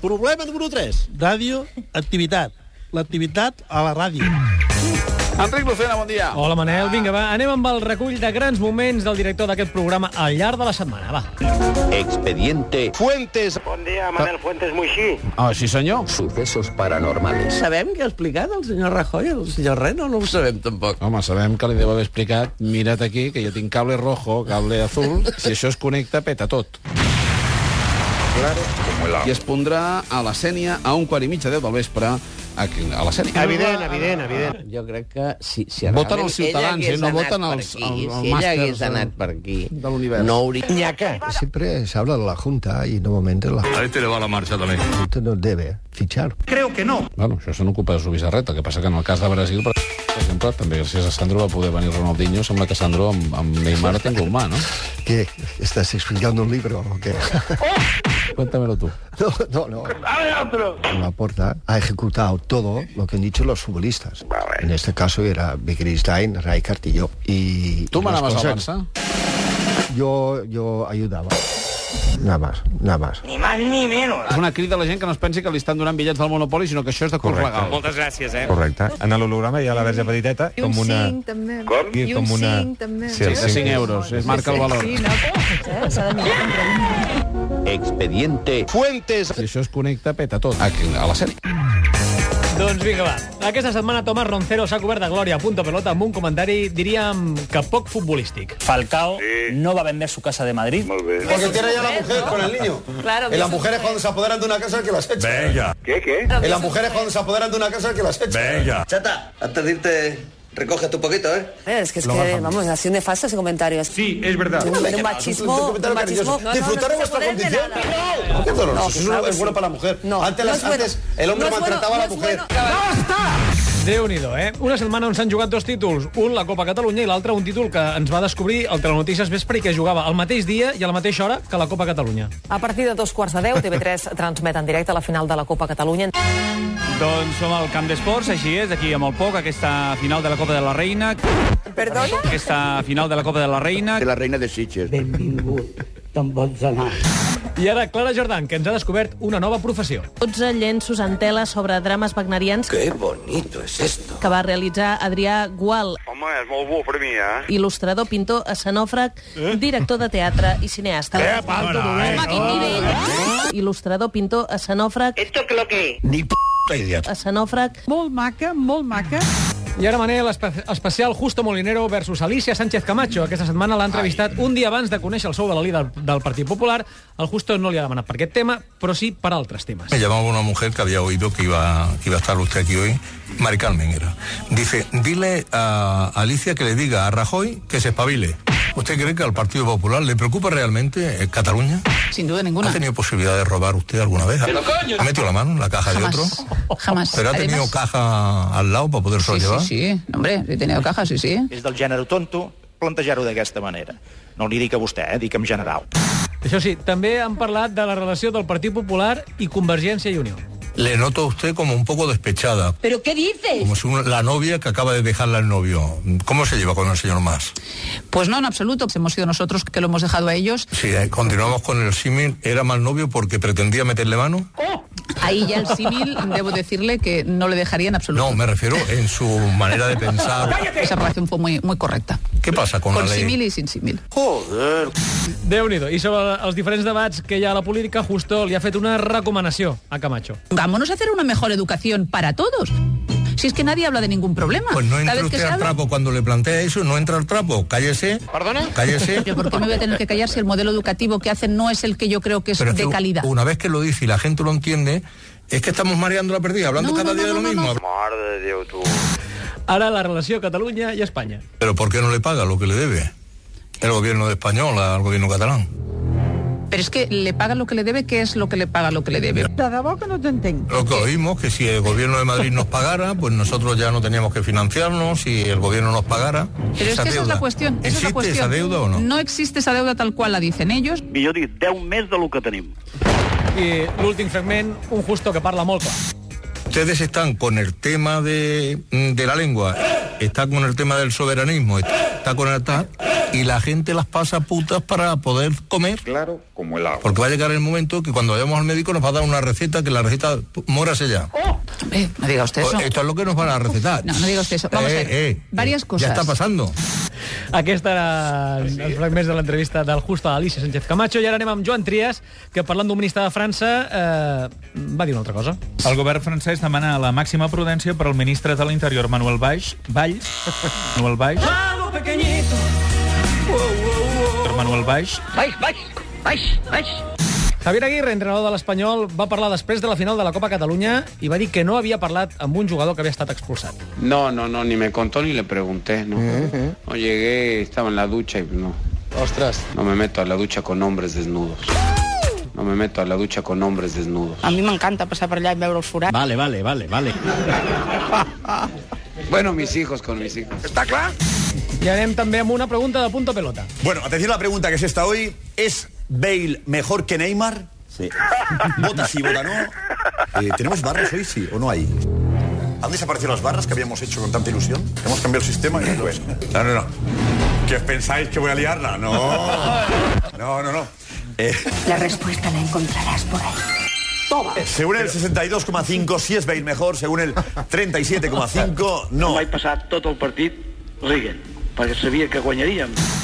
Problema número 3. Ràdio, activitat. L'activitat a la ràdio. Enric Lucena, bon dia. Hola, Manel. Vinga, va, anem amb el recull de grans moments del director d'aquest programa al llarg de la setmana. Va. Expediente. Fuentes. Bon dia, Manel Fuentes Moixí. Ah, sí, senyor. Sucesos paranormales. Sabem què ha explicat el senyor Rajoy al senyor Reno? No ho sabem, tampoc. Home, sabem que li deu haver explicat, mira't aquí, que jo tinc cable rojo, cable azul, si això es connecta, peta tot. I es pondrà a la Sènia a un quart i mitja, deu del vespre, aquí, a la Ah, Sènia. Evident, evident, evident. Jo crec que si, si Voten realment els ciutadans, ella hagués eh? No anat voten per els- aquí, el- el si ella màsters hagués de- anat per aquí, de l'univers. no hauria... Nyaca. Siempre se habla de la Junta y normalmente la A este le va la marcha también. Junta no debe fichar. Bueno, això se n'ocupa de Zubizarreta, que passa que en el cas de Brasil, per exemple, també gràcies a Sandro va poder venir Ronaldinho, sembla que Sandro amb, amb Neymar té un mà, no? ¿Qué? ¿Estás explicando un libro o qué? Cuéntamelo tu. No, no, no. Laporta ha ejecutado todo lo que han dicho los futbolistas. En este caso era Wittgenstein, Rijkaard y yo. Y, Tu y los m'anaves al consejos. Barça? Yo, yo ayudaba. Nada más, nada más. Ni más ni menos. És una crida a la gent que no es pensi que li estan donant bitllets del Monopoli, sinó que això és de curs Correcte. legal. Moltes gràcies, eh? Correcte. En l'holograma hi ha la verge petiteta I un com una... cinc, també. Com? I I un com una... cinc, també. Sí, el De 5 cinc. euros, es marca el valor. Sí, no? Eh, S'ha de mirar. Expediente. Fuentes. Si això es connecta, peta tot. Aquí, a la sèrie. Doncs vinga, va. Aquesta setmana Tomás Roncero s'ha cobert de glòria a punta pelota amb un comentari, diríem, que poc futbolístic. Falcao Eh. no va a vender su casa de Madrid. Porque tiene ya la mujer con el niño. Claro. En las mujeres cuando se apoderan de una casa que las echa. Venga, Què, què? En las mujeres cuando se apoderan de una casa que las echa. venga. Chata, antes de irte, recoge tu poquito, ¿eh? Es que es que, vamos, nación de falsos y comentarios. Sí, es verdad. Un machismo, un machismo. Disfrutar de vuestra condición. No, qué doloroso. Eso no es bueno para la mujer. Antes, las, antes el hombre maltrataba a la mujer. déu nhi eh? Una setmana on s'han jugat dos títols, un la Copa Catalunya i l'altre un títol que ens va descobrir el Telenotícies Vespre i que jugava al mateix dia i a la mateixa hora que la Copa Catalunya. A partir de dos quarts de deu, TV3 transmet en directe la final de la Copa Catalunya. Doncs som al Camp d'Esports, així és, aquí a molt poc, aquesta final de la Copa de la Reina. Perdona? Aquesta final de la Copa de la Reina. De la reina de Sitges. I ara Clara Jordan, que ens ha descobert una nova professió. 12 llenços en tela sobre drames wagnerians Qué bonito es esto. que va realitzar Adrià Gual, Home, és molt bo per mi, eh? il·lustrador, pintor, escenòfrag, director de teatre i cineasta. Eh, Bueno, eh, Il·lustrador, pintor, escenòfrag... Esto que lo que es. Ni p*** idea. escenòfrag... Molt maca, molt maca. I ara, Manel, espe especial Justo Molinero versus Alicia Sánchez Camacho. Aquesta setmana l'ha entrevistat un dia abans de conèixer el sou de la líder del Partit Popular. El Justo no li ha demanat per aquest tema, però sí per altres temes. Me llamaba una mujer que había oído que iba, que iba a estar usted aquí hoy, Mari Carmen era. Dice, dile a Alicia que le diga a Rajoy que se espabile. ¿Usted cree que al Partido Popular le preocupa realmente eh, Cataluña? Sin duda ¿Ha ninguna. tenido posibilidad de robar usted alguna vez? ¿Ha metido la mano en la caja de otro? Jamás. ¿Pero ha tenido caja al lado para poder sobrellevar? sí. eh. Hombre, he tenido cajas, sí, eh. sí. És del gènere tonto plantejar-ho d'aquesta manera. No li dic a vostè, eh? dic en general. Això sí, també han parlat de la relació del Partit Popular i Convergència i Unió. Le noto a usted como un poco despechada. ¿Pero qué dices? Como si un- la novia que acaba de dejarla al novio. ¿Cómo se lleva con el señor Más? Pues no, en absoluto. Hemos sido nosotros que lo hemos dejado a ellos. Si eh, continuamos con el símil, ¿era mal novio porque pretendía meterle mano? Ahí ya el civil, debo decirle que no le dejaría en absoluto. No, me refiero en su manera de pensar. Esa relación fue muy, muy correcta. ¿Qué pasa con, Con la ley? símil y sin símil. déu nhi I sobre els diferents debats que hi ha a la política, Justo li ha fet una recomanació a Camacho. Vámonos a hacer una mejor educación para todos. Si es que nadie habla de ningún problema. Pues no Cada entra vez que usted se al habla... trapo cuando le plantea eso, no entra al trapo. Cállese. Perdona? Cállese. Pero ¿por qué me voy a tener que callar si el modelo educativo que hacen no es el que yo creo que es Pero es de que calidad? Una vez que lo dice y la gente lo entiende, es que estamos mareando la perdida, hablando No, cada no, día no, de lo no, no, mismo. Mare de Déu, tu. Ara la relació Catalunya i Espanya. Pero ¿por qué no le paga lo que le debe? El gobierno de español al gobierno catalán. Pero es que le paga lo que le debe, ¿qué es lo que le paga lo que le debe? Lo que oímos, que si el gobierno de Madrid nos pagara, pues nosotros ya no teníamos que financiarnos, si el gobierno nos pagara. Pero es que esa es la cuestión. esa ¿Existe es la cuestión. esa deuda o no? No existe esa deuda tal cual la dicen ellos. Millor dit, 10 més del que tenim. I l'últim fragment, un Justo que parla molt clar. Ustedes están con el tema mm, de, de la lengua, está con el tema del soberanismo, está con el tal. y la gente las pasa putas para poder comer. Claro, como el agua. Porque va a llegar el momento que cuando vayamos al médico nos va a dar una receta que la receta mórase ya. Eh, no diga usted eso. Esto es lo que nos van a recetar. No, no diga usted eso. Vamos Eh, a ver. eh, Varias cosas. Ya está pasando. Aquest era els fragments de l'entrevista del Justo a Alicia Sánchez Camacho i ara anem amb Joan Trias, que parlant d'un ministre de França eh, va dir una altra cosa. El govern francès demana la màxima prudència per al ministre de l'Interior, Manuel Valls. Valls. Manuel Valls. Vamos, pequeñito. Manuel Valls. Baix, baix, baix, baix. Javier Aguirre, entrenador de l'Espanyol, va parlar després de la final de la Copa Catalunya i va dir que no havia parlat amb un jugador que havia estat expulsat. No, no, no, ni me contó ni le pregunté, no. No llegué, estaba en la ducha y no. eh. Ostras. No me meto a la ducha con hombres desnudos. No me meto a la ducha con hombres desnudos. A mi m'encanta passar per allà i veure el forat. Vale, vale, vale, vale. bueno, mis hijos con mis hijos. ¿Está claro? I anem també amb una pregunta de punta pelota. Bueno, atención a la pregunta que es esta hoy. ¿Es Bale mejor que Neymar? Sí. ¿Vota sí, vota no? Eh, ¿Tenemos barras hoy, sí o no hay? ¿Han desaparecido las barras que habíamos hecho con tanta ilusión? ¿Hemos cambiado el sistema? No, no, no. ¿Que os pensáis que voy a liarla? No. No, no, no. Eh, La respuesta la encontrarás por ahí. Toma. según el 62,5 sí es Bale mejor, según el 37,5 no. Vaig passar tot el partit rient, perquè sabia que guanyaríem.